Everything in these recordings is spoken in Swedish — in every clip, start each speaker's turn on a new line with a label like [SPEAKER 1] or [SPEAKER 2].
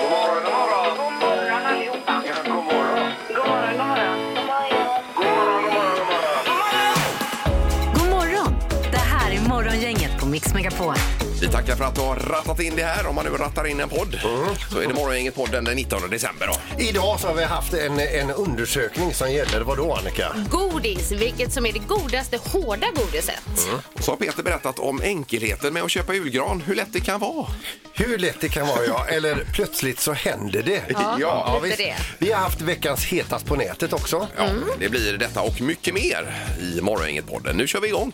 [SPEAKER 1] God morgon, god morgon.
[SPEAKER 2] God morgon allihopa.
[SPEAKER 1] Ja, god morgon.
[SPEAKER 2] God morgon, god morgon.
[SPEAKER 1] God morgon, god morgon, god morgon.
[SPEAKER 3] God morgon! Det här är Morgongänget på Mix Megapol.
[SPEAKER 4] Vi tackar för att du har rattat in det här. Om man nu rattar in en podd så är det Morgongänget-podden den 19 december. Då.
[SPEAKER 5] Idag så har vi haft en, en undersökning som gäller vad då Annika?
[SPEAKER 6] Godis, vilket som är det godaste hårda godiset.
[SPEAKER 4] Så har Peter berättat om enkelheten med att köpa julgran, hur lätt det kan vara.
[SPEAKER 5] Hur lätt det kan vara ja, eller plötsligt så händer det.
[SPEAKER 6] Ja, lite
[SPEAKER 5] visst.
[SPEAKER 6] det.
[SPEAKER 5] Vi har haft veckans hetast på nätet också.
[SPEAKER 4] Ja, Det blir detta och mycket mer i Morgongänget-podden. Nu kör vi igång.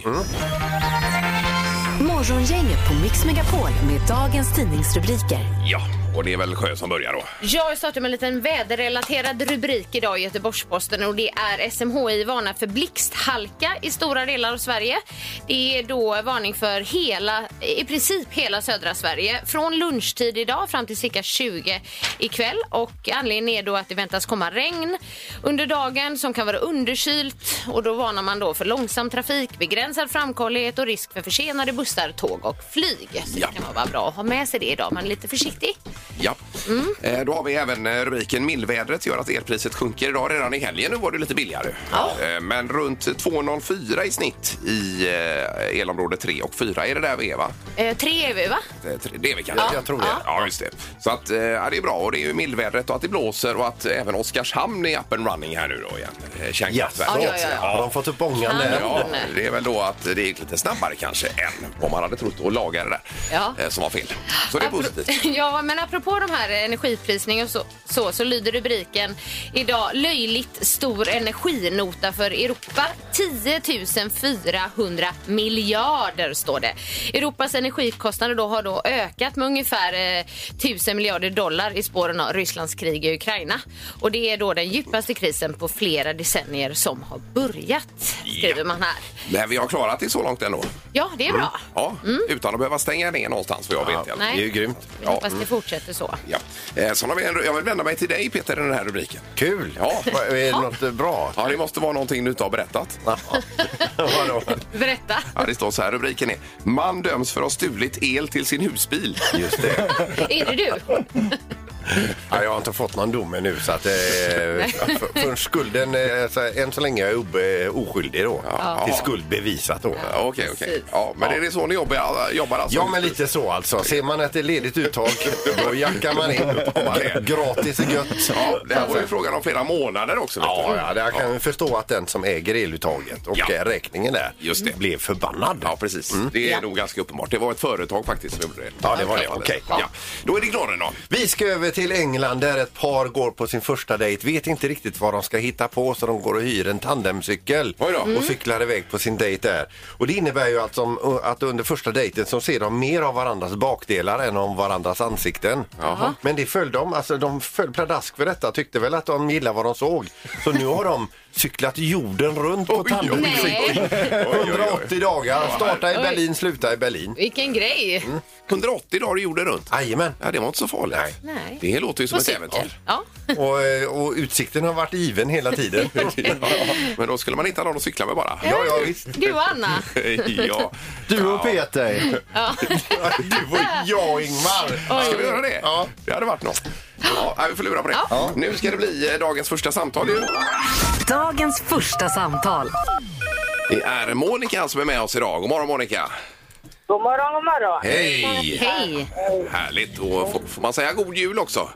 [SPEAKER 3] Morgongänget på Mix Megapol med dagens tidningsrubriker.
[SPEAKER 4] Ja, och det är väl Sjö som börjar då.
[SPEAKER 6] Jag startar med en liten väderrelaterad rubrik idag i Göteborgs-Posten och det är SMHI varnar för blixthalka i stora delar av Sverige. Det är då varning för hela, i princip hela södra Sverige från lunchtid idag fram till cirka 20 ikväll och anledningen är då att det väntas komma regn under dagen som kan vara underkylt och då varnar man då för långsam trafik, begränsad framkomlighet och risk för försenade bussar, tåg och flyg. Så
[SPEAKER 4] Ja.
[SPEAKER 6] det kan vara bra att ha med sig det idag, man är lite försiktig.
[SPEAKER 4] Ja. Eh, Då har vi även eh, rubriken Millvädret gör att elpriset sjunker idag. Redan i helgen nu var det lite billigare. Eh, Men runt 2,04 i snitt i eh, elområde 3 och 4 är det där vi är va?
[SPEAKER 6] Eh, tre är vi va?
[SPEAKER 4] Eh, tre- Det är vi kanske?
[SPEAKER 5] Ja, jag tror det.
[SPEAKER 4] Ja, just det. Så att, eh, ja, det är bra och det är ju mildvädret och att det blåser och att även Oskarshamn är up and running här nu då igen. Eh, Kärnkraftverket.
[SPEAKER 6] Ja, eh. ja, ja, ja.
[SPEAKER 5] Har de fått upp ångan där?
[SPEAKER 4] eh, Ja, det är väl då att det gick lite snabbare kanske än vad man hade trott att laga det där
[SPEAKER 6] Ja.
[SPEAKER 4] eh, som var fel. Så det är positivt.
[SPEAKER 6] ja, men apropå de här energiprisningarna och så, så, så lyder rubriken idag löjligt stor energinota för Europa. 10 400 miljarder står det. Europas energikostnader då har då ökat med ungefär eh, 1000 miljarder dollar i spåren av Rysslands krig i Ukraina. Och det är då den djupaste krisen på flera decennier som har börjat, skriver
[SPEAKER 4] Ja.
[SPEAKER 6] man här.
[SPEAKER 4] Men vi har klarat det så långt ändå.
[SPEAKER 6] Ja, det är bra.
[SPEAKER 4] Ja, utan att behöva stänga ner någonstans vad jag vet. i alla fall.
[SPEAKER 5] Det är
[SPEAKER 6] Nej.
[SPEAKER 5] ju grymt.
[SPEAKER 6] Vi
[SPEAKER 4] Ja, mm.
[SPEAKER 6] hoppas det fortsätter så.
[SPEAKER 4] Ja. Eh, Så har vi en, jag vill vända mig till dig Peter i den här rubriken.
[SPEAKER 5] Kul!
[SPEAKER 4] Ja.
[SPEAKER 5] Va- Är det något bra?
[SPEAKER 4] Ja, det måste vara någonting du inte har berättat.
[SPEAKER 5] Vadå?
[SPEAKER 6] Berätta.
[SPEAKER 4] Ja, det står så här rubriken är. Man döms för att ha stulit el till sin husbil.
[SPEAKER 5] Just det.
[SPEAKER 6] Är det du?
[SPEAKER 5] Ja, jag har inte fått någon dom ännu så att eh, för, för skulden, eh, så, än så länge är jag ob, eh, oskyldig då.
[SPEAKER 4] Ja.
[SPEAKER 5] Till skuld bevisat då.
[SPEAKER 4] Ja, Okej, okej.
[SPEAKER 6] Precis.
[SPEAKER 4] Ja, men är det så ni jobbar, jobbar alltså?
[SPEAKER 5] Ja, men lite så alltså. Ser man att det är ledigt uttag, då jackar man in. Gratis är gött. Alltså,
[SPEAKER 4] Ja, det här var ju frågan om flera månader också. vet
[SPEAKER 5] Ja,
[SPEAKER 4] du.
[SPEAKER 5] ja, det- jag kan förstå att den som äger eluttaget och
[SPEAKER 4] Ja.
[SPEAKER 5] eh, räkningen där
[SPEAKER 4] Just det.
[SPEAKER 5] blev förbannad.
[SPEAKER 4] Ja, precis. Det är nog ganska uppenbart. Det var ett företag faktiskt som gjorde det.
[SPEAKER 5] Mm. Ja, det var det. Okej.
[SPEAKER 4] Ja. Då är det knorren då.
[SPEAKER 5] Vi ska över till England där ett par går på sin första dejt, vet inte riktigt vad de ska hitta på så de går och hyr en tandemcykel
[SPEAKER 4] Oj då. Mm.
[SPEAKER 5] och cyklar iväg på sin dejt där. Och det innebär ju alltså om- att under första dejten så ser de mer av varandras bakdelar än om varandras ansikten. Men det föll de, alltså de föll pladask för detta, tyckte väl att de gillade vad de såg. Så nu har de cyklat jorden runt på
[SPEAKER 4] Oj, oj, oj.
[SPEAKER 5] tandemcykeln.
[SPEAKER 4] oj, oj.
[SPEAKER 5] 180 dagar, starta i
[SPEAKER 6] Oj.
[SPEAKER 5] Berlin, sluta i Berlin.
[SPEAKER 6] Vilken grej!
[SPEAKER 4] 180 dagar jorden runt.
[SPEAKER 5] Jajamän.
[SPEAKER 4] Ja, det var inte så farligt.
[SPEAKER 6] Nej.
[SPEAKER 4] Det låter ju som
[SPEAKER 6] På
[SPEAKER 4] ett
[SPEAKER 6] cykel.
[SPEAKER 4] äventyr.
[SPEAKER 6] Ja.
[SPEAKER 5] Och, eh, och utsikten har varit given hela tiden.
[SPEAKER 4] Men då skulle man inte ha någon att cykla med bara.
[SPEAKER 5] Ja, ja, visst.
[SPEAKER 6] Du och Anna.
[SPEAKER 4] ja.
[SPEAKER 7] Du och Peter.
[SPEAKER 5] Du och jag, Ingmar.
[SPEAKER 4] Ska vi göra det?
[SPEAKER 5] Ja.
[SPEAKER 4] Det hade varit något. Ja, nej, vi får lura på det. Nu ska det bli eh, dagens första samtal. ju.
[SPEAKER 3] Dagens första samtal.
[SPEAKER 4] Det är Monica som är med oss idag. God morgon Monica!
[SPEAKER 2] God morgon, god morgon.
[SPEAKER 4] Hej!
[SPEAKER 6] Hej!
[SPEAKER 4] Härligt! Och får, får man säga god jul också?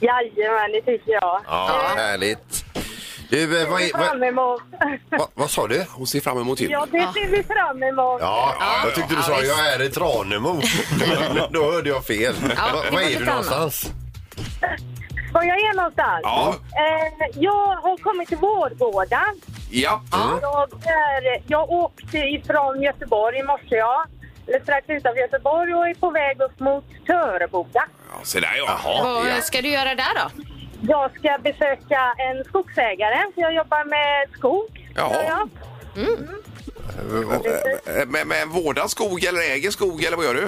[SPEAKER 2] Jajamän, det tycker jag.
[SPEAKER 5] Ja, härligt. Du, eh, vad, är- vad,
[SPEAKER 2] Fram emot.
[SPEAKER 5] vad, vad sa du?
[SPEAKER 4] Hon ser fram emot julen.
[SPEAKER 2] Ja, det ser vi fram emot.
[SPEAKER 5] Ja, jag tyckte du sa
[SPEAKER 6] visst.
[SPEAKER 5] jag är i Tranemo. Men Då hörde jag fel.
[SPEAKER 6] det
[SPEAKER 5] Vad-
[SPEAKER 6] var
[SPEAKER 5] vad är
[SPEAKER 6] lite
[SPEAKER 5] du någonstans?
[SPEAKER 2] Var jag är någonstans?
[SPEAKER 4] Ja.
[SPEAKER 2] Eh, jag har kommit till Vårgårda.
[SPEAKER 4] Ja.
[SPEAKER 2] Jag, är, jag åkte ifrån Göteborg i morse, ja. Eller strax utanför Göteborg och är på väg upp mot Töreboda.
[SPEAKER 4] ja, se där ja. Jaha.
[SPEAKER 6] Vad
[SPEAKER 4] Ja.
[SPEAKER 6] ska du göra där då?
[SPEAKER 2] Jag ska besöka en skogsägare, för jag jobbar med skog.
[SPEAKER 4] Jaha.
[SPEAKER 2] gör jag.
[SPEAKER 4] Eh, Men, men vårdar skog eller äger skog eller vad gör du?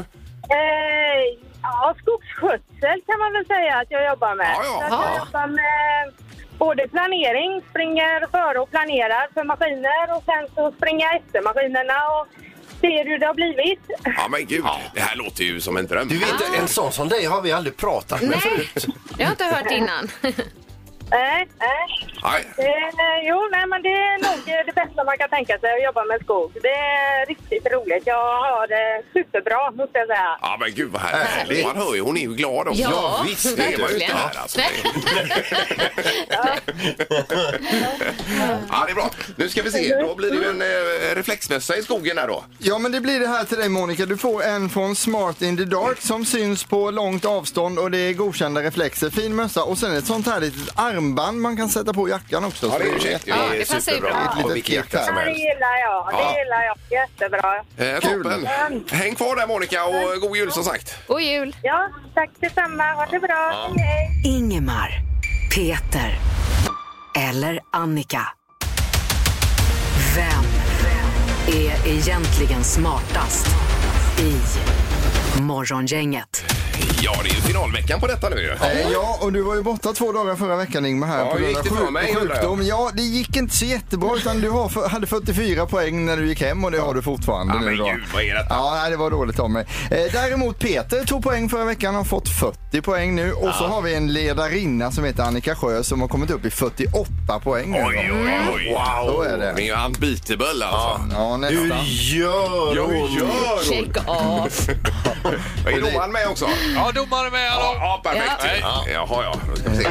[SPEAKER 2] Eh, ja, skogsskötsel kan man väl säga att jag jobbar med.
[SPEAKER 4] Ja, ja.
[SPEAKER 2] Så att
[SPEAKER 4] Ja.
[SPEAKER 2] Jag jobbar med både planering, springer före och planerar för maskiner och sen så springer jag efter maskinerna och Ser du hur det har blivit?
[SPEAKER 4] Ja, men gud. Det här låter ju som en dröm.
[SPEAKER 5] Du vet, en sån som dig har vi aldrig pratat med
[SPEAKER 6] Nej.
[SPEAKER 5] förut.
[SPEAKER 6] Det har jag inte hört innan.
[SPEAKER 2] Nej, nej.
[SPEAKER 4] Nej.
[SPEAKER 2] Eh, jo, nej, men det är nog eh, det bästa man kan tänka sig att jobba med skog. Det är riktigt roligt. Jag har det superbra, måste jag säga.
[SPEAKER 4] Ja, men gud vad härligt.
[SPEAKER 5] Härligt.
[SPEAKER 4] Man hör ju, hon är ju glad också.
[SPEAKER 6] Ja, Ja, visst,
[SPEAKER 4] Det var ju inte
[SPEAKER 6] verkligen.
[SPEAKER 4] här alltså. ja, det är bra. Nu ska vi se, då blir det ju en eh, reflexmössa i skogen här då.
[SPEAKER 8] Ja, men det blir det här till dig Monica. Du får en från Smart in the Dark som syns på långt avstånd och det är godkända reflexer. Fin mössa och sen ett sånt här litet armband man kan sätta på jackan också.
[SPEAKER 4] Ja, det är ju
[SPEAKER 8] Så-
[SPEAKER 4] käckt.
[SPEAKER 6] Ja, det passar ju bra.
[SPEAKER 4] Och vilken
[SPEAKER 8] Ett litet
[SPEAKER 4] jacka som
[SPEAKER 2] Ja, det
[SPEAKER 4] helst.
[SPEAKER 2] gillar jag.
[SPEAKER 4] Ja.
[SPEAKER 2] Det gillar jag. Jättebra.
[SPEAKER 4] Eh, toppen. Häng kvar där Monica och god jul som sagt.
[SPEAKER 6] God jul!
[SPEAKER 2] Ja, tack detsamma. Ha det bra. Hej.
[SPEAKER 3] Ingemar, Peter eller Annika. Vem är egentligen smartast i Morgongänget?
[SPEAKER 4] Ja, det är ju finalveckan på detta nu ju.
[SPEAKER 8] Eh, Ja, och du var ju borta två dagar förra veckan Ingmar här
[SPEAKER 4] Ja, hur gick det för
[SPEAKER 8] sjuk-
[SPEAKER 4] mig, undrar jag?
[SPEAKER 8] sjukdom. Ja, det gick inte så jättebra utan du har för, hade 44 poäng när du gick hem och det har du fortfarande
[SPEAKER 4] Ja,
[SPEAKER 8] nu
[SPEAKER 4] men
[SPEAKER 8] då.
[SPEAKER 4] gud, vad är detta?
[SPEAKER 8] Ja, nej, det var dåligt av mig. Eh, däremot Peter tog poäng förra veckan har fått 40 poäng nu och så har vi en ledarinna som heter Annika Sjö som har kommit upp i 48 poäng nu. då.
[SPEAKER 4] Oj, oj, oj.
[SPEAKER 8] Så
[SPEAKER 4] Wow.
[SPEAKER 8] är det.
[SPEAKER 4] Det är ju unbeatable alltså.
[SPEAKER 8] Ja,
[SPEAKER 5] Du
[SPEAKER 8] nästan.
[SPEAKER 5] gör
[SPEAKER 4] Jo,
[SPEAKER 5] hon?
[SPEAKER 4] gör hon?
[SPEAKER 6] Check off!
[SPEAKER 4] Är domaren med också?
[SPEAKER 9] Ja, domare med.
[SPEAKER 4] Ja,
[SPEAKER 9] Hallå.
[SPEAKER 4] ja perfekt. Ja.
[SPEAKER 9] Ja.
[SPEAKER 4] Jaha, ja. Då ska vi se.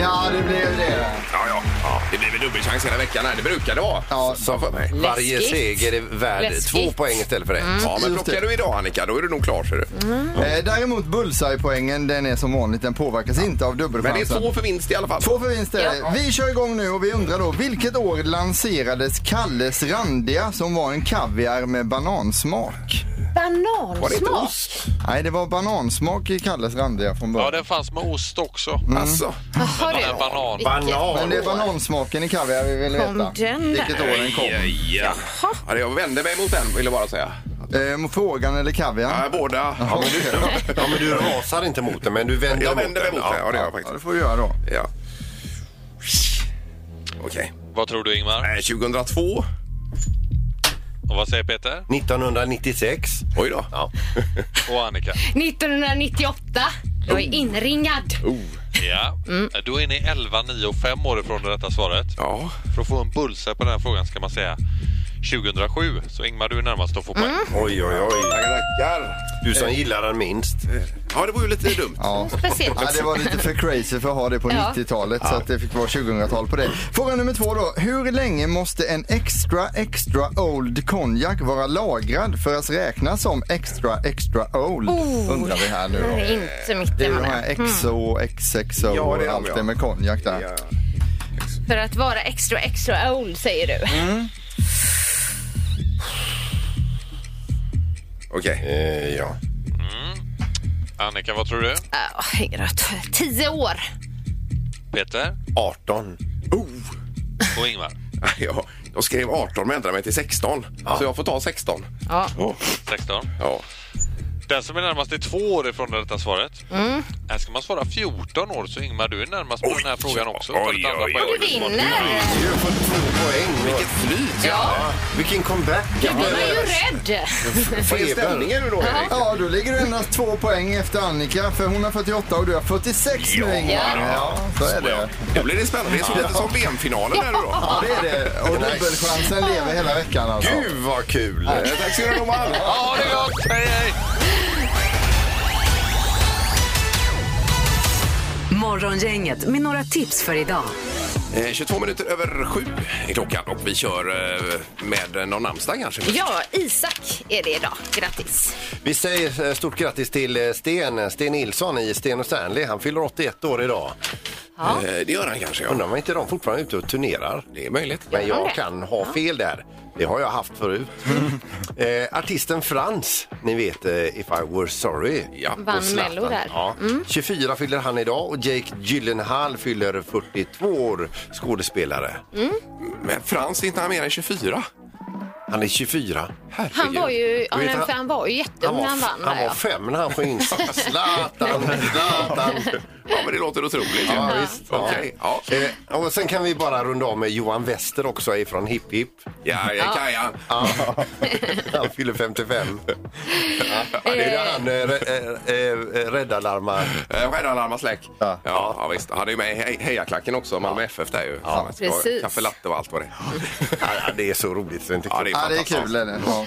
[SPEAKER 8] Ja, det blev det.
[SPEAKER 4] Ja, ja. ja. Det blir väl dubbelchans hela veckan här. Det brukar det vara.
[SPEAKER 8] Ja.
[SPEAKER 4] Sa för mig.
[SPEAKER 5] Varje
[SPEAKER 6] Läskigt.
[SPEAKER 5] seger är värd
[SPEAKER 6] Läskigt.
[SPEAKER 5] två poäng istället för ett.
[SPEAKER 4] Ja, men
[SPEAKER 8] Just
[SPEAKER 4] plockar du idag Annika, då är du nog klar ser du.
[SPEAKER 8] Eh, däremot bullseye-poängen, den är som vanligt, den påverkas inte av dubbelchansen.
[SPEAKER 4] Men det är två för vinst i alla fall.
[SPEAKER 8] Alltså. Två för vinst är det. Vi kör igång nu och vi undrar då, vilket år lanserades Kalles Randia som var en kaviar med banansmak?
[SPEAKER 4] Var det inte
[SPEAKER 6] Banansmak!
[SPEAKER 4] ost?
[SPEAKER 8] Nej, det var banansmak i Kalles Randia från
[SPEAKER 9] Ja,
[SPEAKER 8] början.
[SPEAKER 9] den fanns med ost också.
[SPEAKER 4] Alltså.
[SPEAKER 6] Jaha
[SPEAKER 9] Den här
[SPEAKER 6] du.
[SPEAKER 9] banan.
[SPEAKER 8] Men
[SPEAKER 5] Banan.
[SPEAKER 8] det är banansmaken i kaviar vi vill
[SPEAKER 6] Kom
[SPEAKER 8] veta.
[SPEAKER 6] den där.
[SPEAKER 8] Vilket år den kom.
[SPEAKER 4] Ja, ja. Jag vände mig mot den vill jag bara säga.
[SPEAKER 8] Eh, frågan eller
[SPEAKER 4] Ja,
[SPEAKER 8] kaviar?
[SPEAKER 4] båda.
[SPEAKER 8] Ja, men du-
[SPEAKER 5] Ja, men du rasar inte mot den, men du vänder
[SPEAKER 4] Jag
[SPEAKER 5] mot
[SPEAKER 4] vänder mig
[SPEAKER 5] den.
[SPEAKER 4] mot den. Ja, det gör jag
[SPEAKER 8] ja, det
[SPEAKER 4] faktiskt.
[SPEAKER 8] får vi göra då.
[SPEAKER 4] Ja. Okej.
[SPEAKER 9] Vad tror du Ingmar?
[SPEAKER 4] Eh, 2002.
[SPEAKER 9] Och vad säger Peter?
[SPEAKER 5] 1996.
[SPEAKER 4] Oj då.
[SPEAKER 5] Ja.
[SPEAKER 9] Och Annika?
[SPEAKER 6] 1998. Jag är inringad.
[SPEAKER 4] Oh.
[SPEAKER 9] Ja. Då är ni 11, 9 och 5 år ifrån det rätta svaret.
[SPEAKER 4] Mm. Ja.
[SPEAKER 9] För att få en bullse på den här frågan ska man säga 2007. Så Ingmar, du är närmast att få poäng.
[SPEAKER 4] Mm.
[SPEAKER 5] Oj, oj, oj.
[SPEAKER 4] Tackar, tackar.
[SPEAKER 5] Du
[SPEAKER 8] Eh.
[SPEAKER 5] som gillar den minst.
[SPEAKER 4] Ja, det var ju lite dumt.
[SPEAKER 8] Ja.
[SPEAKER 6] Speciellt.
[SPEAKER 8] Ja, det var lite för crazy för att ha det på
[SPEAKER 6] Ja.
[SPEAKER 8] 90-talet så att det fick vara 2000-tal på det. Fråga nummer två då. Hur länge måste en extra extra old konjak vara lagrad för att räknas som extra extra old?
[SPEAKER 6] Oh.
[SPEAKER 8] Undrar vi här nu
[SPEAKER 6] Det
[SPEAKER 8] då.
[SPEAKER 6] är inte mitt
[SPEAKER 8] Det är ju de
[SPEAKER 6] ämne.
[SPEAKER 8] här XO, XXO
[SPEAKER 4] Ja, det är
[SPEAKER 8] och
[SPEAKER 4] de,
[SPEAKER 8] allt
[SPEAKER 4] ja.
[SPEAKER 8] det med konjak där.
[SPEAKER 4] Ja.
[SPEAKER 6] För att vara extra extra old säger du.
[SPEAKER 4] Okej.
[SPEAKER 5] Eh, ja.
[SPEAKER 9] Annika, vad tror du?
[SPEAKER 6] Ja, ingen rött. Tio år.
[SPEAKER 9] Peter?
[SPEAKER 5] 18.
[SPEAKER 4] Oh.
[SPEAKER 9] Och Ingmar?
[SPEAKER 4] Ja, jag skrev 18 men ändrade mig till 16. Så jag får ta 16.
[SPEAKER 6] Ja.
[SPEAKER 9] 16.
[SPEAKER 4] Ja.
[SPEAKER 9] Den som är närmast är två år ifrån det rätta svaret. Här ska man svara 14 år, så Ingmar, du är närmast på
[SPEAKER 4] Mm. Oj,
[SPEAKER 9] den här frågan också.
[SPEAKER 4] oj,
[SPEAKER 9] för ett andra
[SPEAKER 4] oj,
[SPEAKER 9] poäng.
[SPEAKER 4] oj.
[SPEAKER 6] Du vinner!
[SPEAKER 5] Du har fått två poäng.
[SPEAKER 4] Vilket flyt!
[SPEAKER 6] Ja,
[SPEAKER 5] Vilken comeback.
[SPEAKER 6] då blir man ju rädd.
[SPEAKER 4] Vad är ställningen nu då, Erik?
[SPEAKER 8] Ja, då ligger du endast två poäng efter Annika för hon har 48 och du har 46 nu Ingmar. Ja, så är det.
[SPEAKER 4] Nu blir det spännande. Det är så lite som VM-finalen här nu då.
[SPEAKER 8] Ja, det är det. Och dubbelchansen lever hela veckan alltså.
[SPEAKER 5] Gud, vad kul.
[SPEAKER 4] Eh, Tack så mycket, domaren!
[SPEAKER 9] Ja, det är gott! Hej, hej!
[SPEAKER 3] Morgongänget med några tips för idag.
[SPEAKER 4] Eh, 22 minuter över sju är klockan och vi kör eh, med någon namnsdag kanske.
[SPEAKER 6] Ja, Isak är det idag. Grattis!
[SPEAKER 5] Vi säger eh, stort grattis till eh, Sten, Sten Nilsson i Sten och Stanley. Han fyller 81 år idag.
[SPEAKER 4] Eh, Det gör han kanske, ja.
[SPEAKER 5] Undrar om inte de fortfarande är ute och turnerar.
[SPEAKER 4] Det är möjligt.
[SPEAKER 5] Men
[SPEAKER 6] de
[SPEAKER 5] jag
[SPEAKER 6] det?
[SPEAKER 5] kan ha fel där. Det har jag haft förut. eh, artisten Frans, ni vet eh, If I Were Sorry.
[SPEAKER 4] Ja.
[SPEAKER 6] Vann
[SPEAKER 5] Och Zlatan.
[SPEAKER 6] Mello där. Mm.
[SPEAKER 5] Ja. 24 fyller han idag och Jake Gyllenhaal fyller 42 år,
[SPEAKER 6] Mm.
[SPEAKER 5] skådespelare.
[SPEAKER 4] Men Frans, är inte han mer än 24?
[SPEAKER 5] Han är 24.
[SPEAKER 6] Han var ju, ja,
[SPEAKER 5] Vet
[SPEAKER 6] men
[SPEAKER 5] han-
[SPEAKER 6] för han var ju jätteung när han vann.
[SPEAKER 5] han var
[SPEAKER 6] där, ja.
[SPEAKER 5] fem när han sjöng in Zlatan, Zlatan.
[SPEAKER 4] Ja, men det låter otroligt. ju.
[SPEAKER 5] Ja, visst.
[SPEAKER 4] Okej, ja.
[SPEAKER 5] Eh, och sen kan vi bara runda av med Johan Wester också ifrån Hipp Hipp.
[SPEAKER 4] Ja, ja, Kajan.
[SPEAKER 5] Ja. han fyller 55. ja, det är där han eh, eh, eh, räddarlarmar.
[SPEAKER 4] Eh, Räddarlarma släck. Ja.
[SPEAKER 5] Ja.
[SPEAKER 4] Ja, visst. Han är ju med i hej- hejaklacken också, Malmö FF där ju. Ja,
[SPEAKER 6] precis.
[SPEAKER 4] Kaffe latte och allt vad det är.
[SPEAKER 5] Ja, det är så roligt så det är inte
[SPEAKER 4] Ja, det är
[SPEAKER 5] klokt.
[SPEAKER 8] Ja, det är
[SPEAKER 4] fantastiskt.
[SPEAKER 8] kul. Är det? Ja.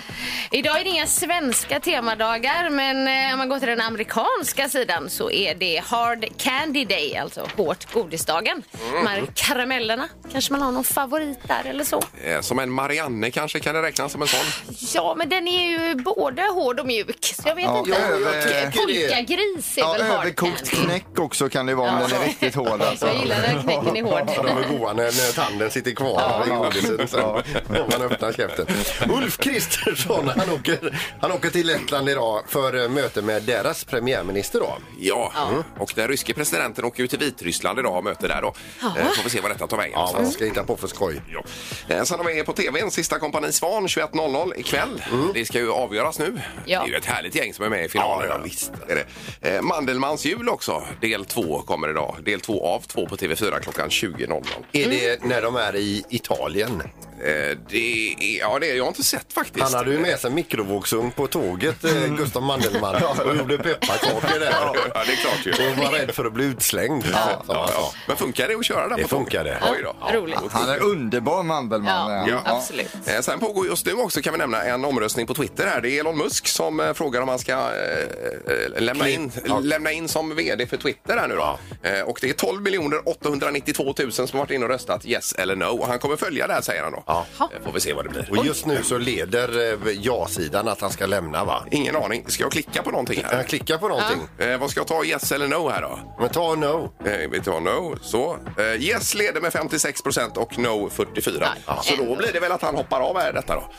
[SPEAKER 6] Idag är det inga svenska temadagar men eh, om man går till den amerikanska sidan så är det Hard Candy Day, alltså hårt godisdagen. De här karamellerna, kanske man har någon favorit där eller så.
[SPEAKER 4] Eh, Som en Marianne kanske kan det räknas som en sån.
[SPEAKER 6] Ja, men den är ju både hård och mjuk. Så jag vet
[SPEAKER 8] Ja,
[SPEAKER 6] inte.
[SPEAKER 8] jag
[SPEAKER 6] Och
[SPEAKER 8] tycker det.
[SPEAKER 6] Polkagris är
[SPEAKER 8] Ja,
[SPEAKER 6] väl hard
[SPEAKER 8] överkokt
[SPEAKER 6] candy.
[SPEAKER 8] knäck också kan det vara om den är riktigt hård. Alltså.
[SPEAKER 6] Jag gillar när knäcken är hård.
[SPEAKER 5] Ja, de är goa när, när tanden sitter kvar i
[SPEAKER 8] Ja.
[SPEAKER 5] godiset.
[SPEAKER 8] Ja.
[SPEAKER 5] När man öppnar käften. Ulf Kristersson, han åker, han åker till Lettland idag för eh, möte med deras premiärminister. Då.
[SPEAKER 4] Ja, och den ryske presidenten åker ju till Vitryssland idag och har möte där då. Eh, Får vi se vad detta tar vägen.
[SPEAKER 5] Ja,
[SPEAKER 4] någonstans.
[SPEAKER 5] man ska hitta på för skoj.
[SPEAKER 4] Ja. Eh, Sen har vi på tv en sista kompani Svan 21.00 ikväll. Det ska ju avgöras nu.
[SPEAKER 6] Ja.
[SPEAKER 4] Det är ju ett härligt gäng som är med i finalen.
[SPEAKER 5] Ja, ja, visst.
[SPEAKER 4] Det är det. Eh, Mandelmans jul också. Del två kommer idag. Del två av två på TV4 klockan 20.00.
[SPEAKER 5] Är det när de är i Italien?
[SPEAKER 4] Eh, Det är, ja, det är, jag har inte sett faktiskt.
[SPEAKER 5] Han hade ju med sig mikrovågsugn på tåget, eh, Gustav Mandelmann, och gjorde pepparkakor där.
[SPEAKER 4] Mm. Ja, det är klart ju.
[SPEAKER 5] Och var rädd för att bli utslängd. Ja.
[SPEAKER 4] Ja, ja. Men funkar det att köra den?
[SPEAKER 5] Det
[SPEAKER 4] på tåg?
[SPEAKER 5] funkar det.
[SPEAKER 4] Oj då.
[SPEAKER 6] Ja, roligt.
[SPEAKER 8] Han är underbar Mandelmann.
[SPEAKER 6] Ja,
[SPEAKER 8] är han.
[SPEAKER 4] Ja.
[SPEAKER 6] absolut.
[SPEAKER 4] Eh, Sen pågår just nu också kan vi nämna en omröstning på Twitter här. Det är Elon Musk som eh, frågar om han ska eh, eh, lämna, in, lämna in som vd för Twitter här nu då. Eh, och det är 12 miljoner 892 000 som har varit inne och röstat yes eller no. Och han kommer följa det här säger han då.
[SPEAKER 5] Ja.
[SPEAKER 4] Eh, Får vi se vad det blir.
[SPEAKER 5] Och just nu så leder eh, ja-sidan att han ska lämna va?
[SPEAKER 4] Ingen aning. Ska jag klicka på någonting här?
[SPEAKER 5] Han klickar på någonting.
[SPEAKER 4] Eh, vad ska jag ta yes eller no här då?
[SPEAKER 5] Men ta no.
[SPEAKER 4] Eh, vi tar no. Så. Eh, yes leder med 56 procent och no 44.
[SPEAKER 6] Ja.
[SPEAKER 4] Så då blir det väl att han hoppar av här detta då.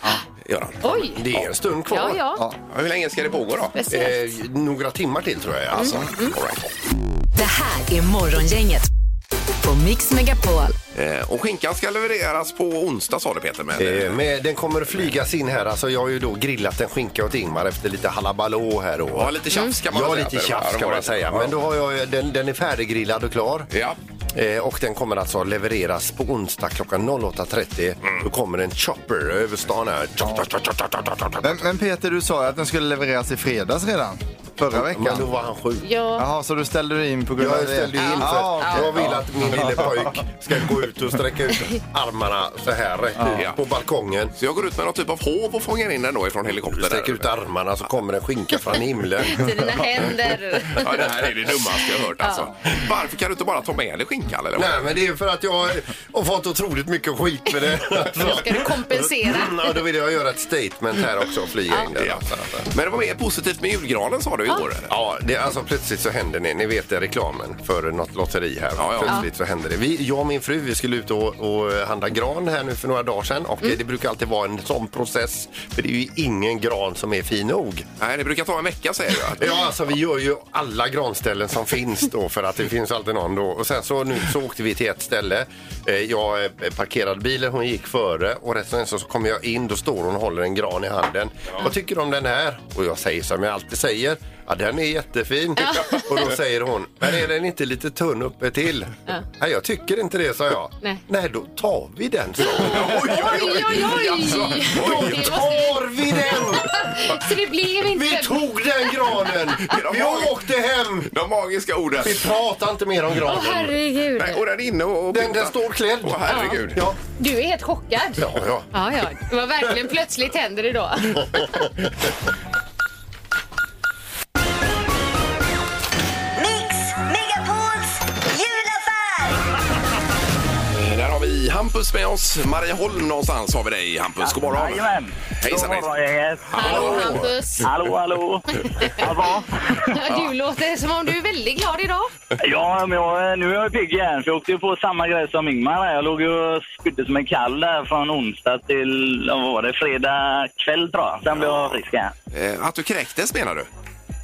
[SPEAKER 4] Gör han.
[SPEAKER 6] Oj!
[SPEAKER 5] Det är en stund kvar.
[SPEAKER 6] Ja, ja.
[SPEAKER 8] Ja.
[SPEAKER 4] Hur länge ska det pågå då?
[SPEAKER 6] Speciellt.
[SPEAKER 5] Eh, några timmar till tror jag. Alltså.
[SPEAKER 4] All right.
[SPEAKER 3] Det här är Morgongänget på Mix Megapol.
[SPEAKER 4] Eh, Och skinkan ska levereras på onsdag sa du Peter. Men,
[SPEAKER 5] Eh, men den kommer att flygas in här. Alltså, jag har ju då grillat en skinka åt Ingmar efter lite halabalå här. Och...
[SPEAKER 4] ja, lite tjafs kan man
[SPEAKER 5] ja,
[SPEAKER 4] säga.
[SPEAKER 5] lite tjafs kan man säga. Men då har jag, den, den är färdiggrillad och klar.
[SPEAKER 4] Ja.
[SPEAKER 5] Eh, och den kommer alltså levereras på onsdag klockan 08.30.
[SPEAKER 4] Mm.
[SPEAKER 5] Då kommer en chopper över stan här. Chop, chop, chop, chop, chop, chop, chop, chop.
[SPEAKER 8] Men, men Peter, du sa ju att den skulle levereras i fredags redan. Förra
[SPEAKER 5] Men då
[SPEAKER 8] veckan.
[SPEAKER 5] var han sjuk.
[SPEAKER 6] Ja.
[SPEAKER 8] Jaha, så du ställde dig in på grund av
[SPEAKER 5] Jag
[SPEAKER 8] det?
[SPEAKER 5] ställde ju in för
[SPEAKER 8] Ja,
[SPEAKER 5] att
[SPEAKER 8] okej.
[SPEAKER 5] jag vill att min lille pojk ska gå ut och sträcka ut armarna så här rätt
[SPEAKER 4] Ja.
[SPEAKER 5] ut på balkongen.
[SPEAKER 4] Så jag går ut med någon typ av hov och fångar in den då ifrån helikoptern.
[SPEAKER 5] Sträck
[SPEAKER 4] där.
[SPEAKER 5] ut armarna så kommer en skinka från himlen.
[SPEAKER 6] Till dina händer.
[SPEAKER 4] Ja, det här är det dummaste jag hört alltså. Varför kan du inte bara ta med dig skinkan? Eller? vad?
[SPEAKER 5] Nej, men det är för att jag har fått otroligt mycket skit med det.
[SPEAKER 6] Då ska du kompensera.
[SPEAKER 5] Ja, då vill jag göra ett statement här också och flyga in där.
[SPEAKER 4] Ja. Men det var mer positivt med julgranen sa du igår. eller?
[SPEAKER 5] Ja, det, alltså plötsligt så händer det. Ni vet det, reklamen för något lotteri här.
[SPEAKER 4] Ja, ja.
[SPEAKER 5] Plötsligt så händer det. Vi, jag och min fru vi skulle ut och, och handla gran här nu för några dagar sedan. Och eh,
[SPEAKER 4] Mm.
[SPEAKER 5] det brukar alltid vara en sån process. För det är ju ingen gran som är fin nog.
[SPEAKER 4] Nej, det brukar ta en vecka säger du. att-
[SPEAKER 5] Ja, alltså vi gör ju alla granställen som finns då för att det finns alltid någon då. Och sen så nu så åkte vi till ett ställe. Eh, Jag eh, parkerade bilen, hon gick före och resten så kommer jag in, då står hon och håller en gran i handen. Vad tycker du om den här? Och jag säger som jag alltid säger. Ja, den är jättefin. Och då säger hon, men är den inte lite tunn uppe till? Nej, jag tycker inte det, sa jag.
[SPEAKER 6] Nej.
[SPEAKER 5] Nej, då tar vi den, sa hon.
[SPEAKER 4] Oj,
[SPEAKER 6] Oj, oj, oj!
[SPEAKER 4] Alltså,
[SPEAKER 5] Då tar vi den!
[SPEAKER 6] Så det blev
[SPEAKER 5] Vi
[SPEAKER 6] inte...
[SPEAKER 5] tog den granen! Vi åkte hem!
[SPEAKER 4] De magiska orden.
[SPEAKER 5] Vi pratar inte mer om
[SPEAKER 6] Åh,
[SPEAKER 5] granen.
[SPEAKER 6] herregud.
[SPEAKER 4] Nej, och den är inne och...
[SPEAKER 5] Den, den står klädd.
[SPEAKER 4] Åh, herregud.
[SPEAKER 5] Ja.
[SPEAKER 6] Du är helt chockad.
[SPEAKER 5] Ja, ja.
[SPEAKER 6] Ja, ja. Det var verkligen plötsligt händer det då.
[SPEAKER 10] Mix Megapols julaffär!
[SPEAKER 4] Där har vi Hampus med oss. Marieholm någonstans har vi dig Hampus. God morgon.
[SPEAKER 11] Jajamän!
[SPEAKER 4] Hejsan, hejsan.
[SPEAKER 11] hejsan!
[SPEAKER 6] Hallå, Hampus.
[SPEAKER 11] Hallå, hallå! Hallå!
[SPEAKER 6] Du låter som om du är väldigt glad idag.
[SPEAKER 11] Ja, men jag, nu är jag pigg igen, för jag åkte ju på samma grej som Ingmar. här. Jag låg ju och spydde som en kall där från onsdag till, ja, vad var det, fredag kväll tror jag. Sen blev jag frisk igen.
[SPEAKER 4] Eh, Att du kräktes menar du?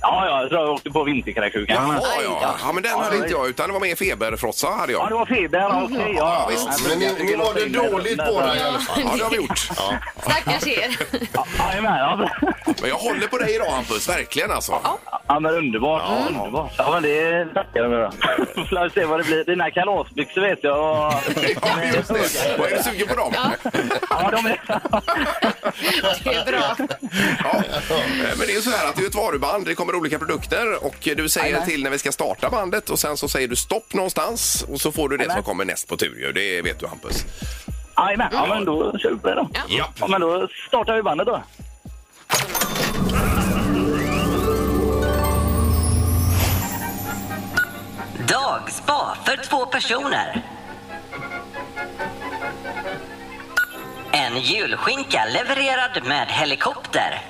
[SPEAKER 11] Ja, ja, jag tror jag åkte på vinterkräksjuka.
[SPEAKER 4] Ja, ja. ja, men den hade inte jag utan det var mer feberfrossa hade jag.
[SPEAKER 11] Ja, det var feber. ja, Okej, ja.
[SPEAKER 4] Ja, visst.
[SPEAKER 11] Men ni- ni mådde dåligt båda i alla fall.
[SPEAKER 4] Ja, det har vi gjort. Ja.
[SPEAKER 6] Stackars er.
[SPEAKER 4] Men jag håller på dig idag Hampus, verkligen alltså.
[SPEAKER 11] Ja, men underbart. Ja, men det tackar jag med. Då får jag se vad det blir. Dina kalasbyxor vet jag. Ja,
[SPEAKER 4] just det. Vad är du sugen på dem?
[SPEAKER 11] Ja, de är...
[SPEAKER 6] Det är bra. Mm.
[SPEAKER 4] Eh, Men det är ju så här att det är ett varuband, det kommer olika produkter och eh, du säger
[SPEAKER 11] Jajamän.
[SPEAKER 4] till när vi ska starta bandet och sen så säger du stopp någonstans och så får du det som
[SPEAKER 11] Jajamän.
[SPEAKER 4] kommer näst på tur ju. Det vet du Hampus.
[SPEAKER 11] Jajamän. Ja, men då kör vi på det då.
[SPEAKER 4] Ja.
[SPEAKER 11] Ja, men då startar vi bandet då.
[SPEAKER 12] Dagspa för två personer. En julskinka levererad med helikopter.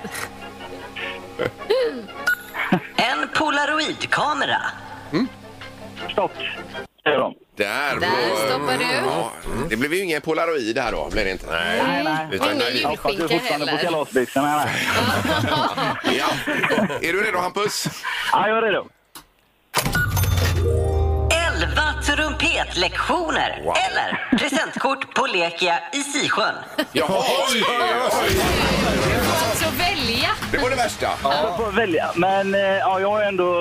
[SPEAKER 12] En polaroidkamera.
[SPEAKER 11] Stopp.
[SPEAKER 4] Där,
[SPEAKER 12] Där stoppar du.
[SPEAKER 4] Ja, det blev ju ingen polaroid där då, blev det inte?
[SPEAKER 11] Nej, nej.
[SPEAKER 4] Utan
[SPEAKER 11] Ingen
[SPEAKER 4] nej.
[SPEAKER 11] julskinka Hoppas du fortfarande heller. på kalasbyxorna.
[SPEAKER 4] ja. Är du redo Hampus?
[SPEAKER 11] Ja, jag är redo.
[SPEAKER 12] Elva trumpetlektioner. Eller presentkort på Lekia i Sisjön.
[SPEAKER 4] Jaha!
[SPEAKER 6] Alltså välja.
[SPEAKER 4] Det var det värsta.
[SPEAKER 11] Ja. Jag får välja. Men eh, ja, jag har ju ändå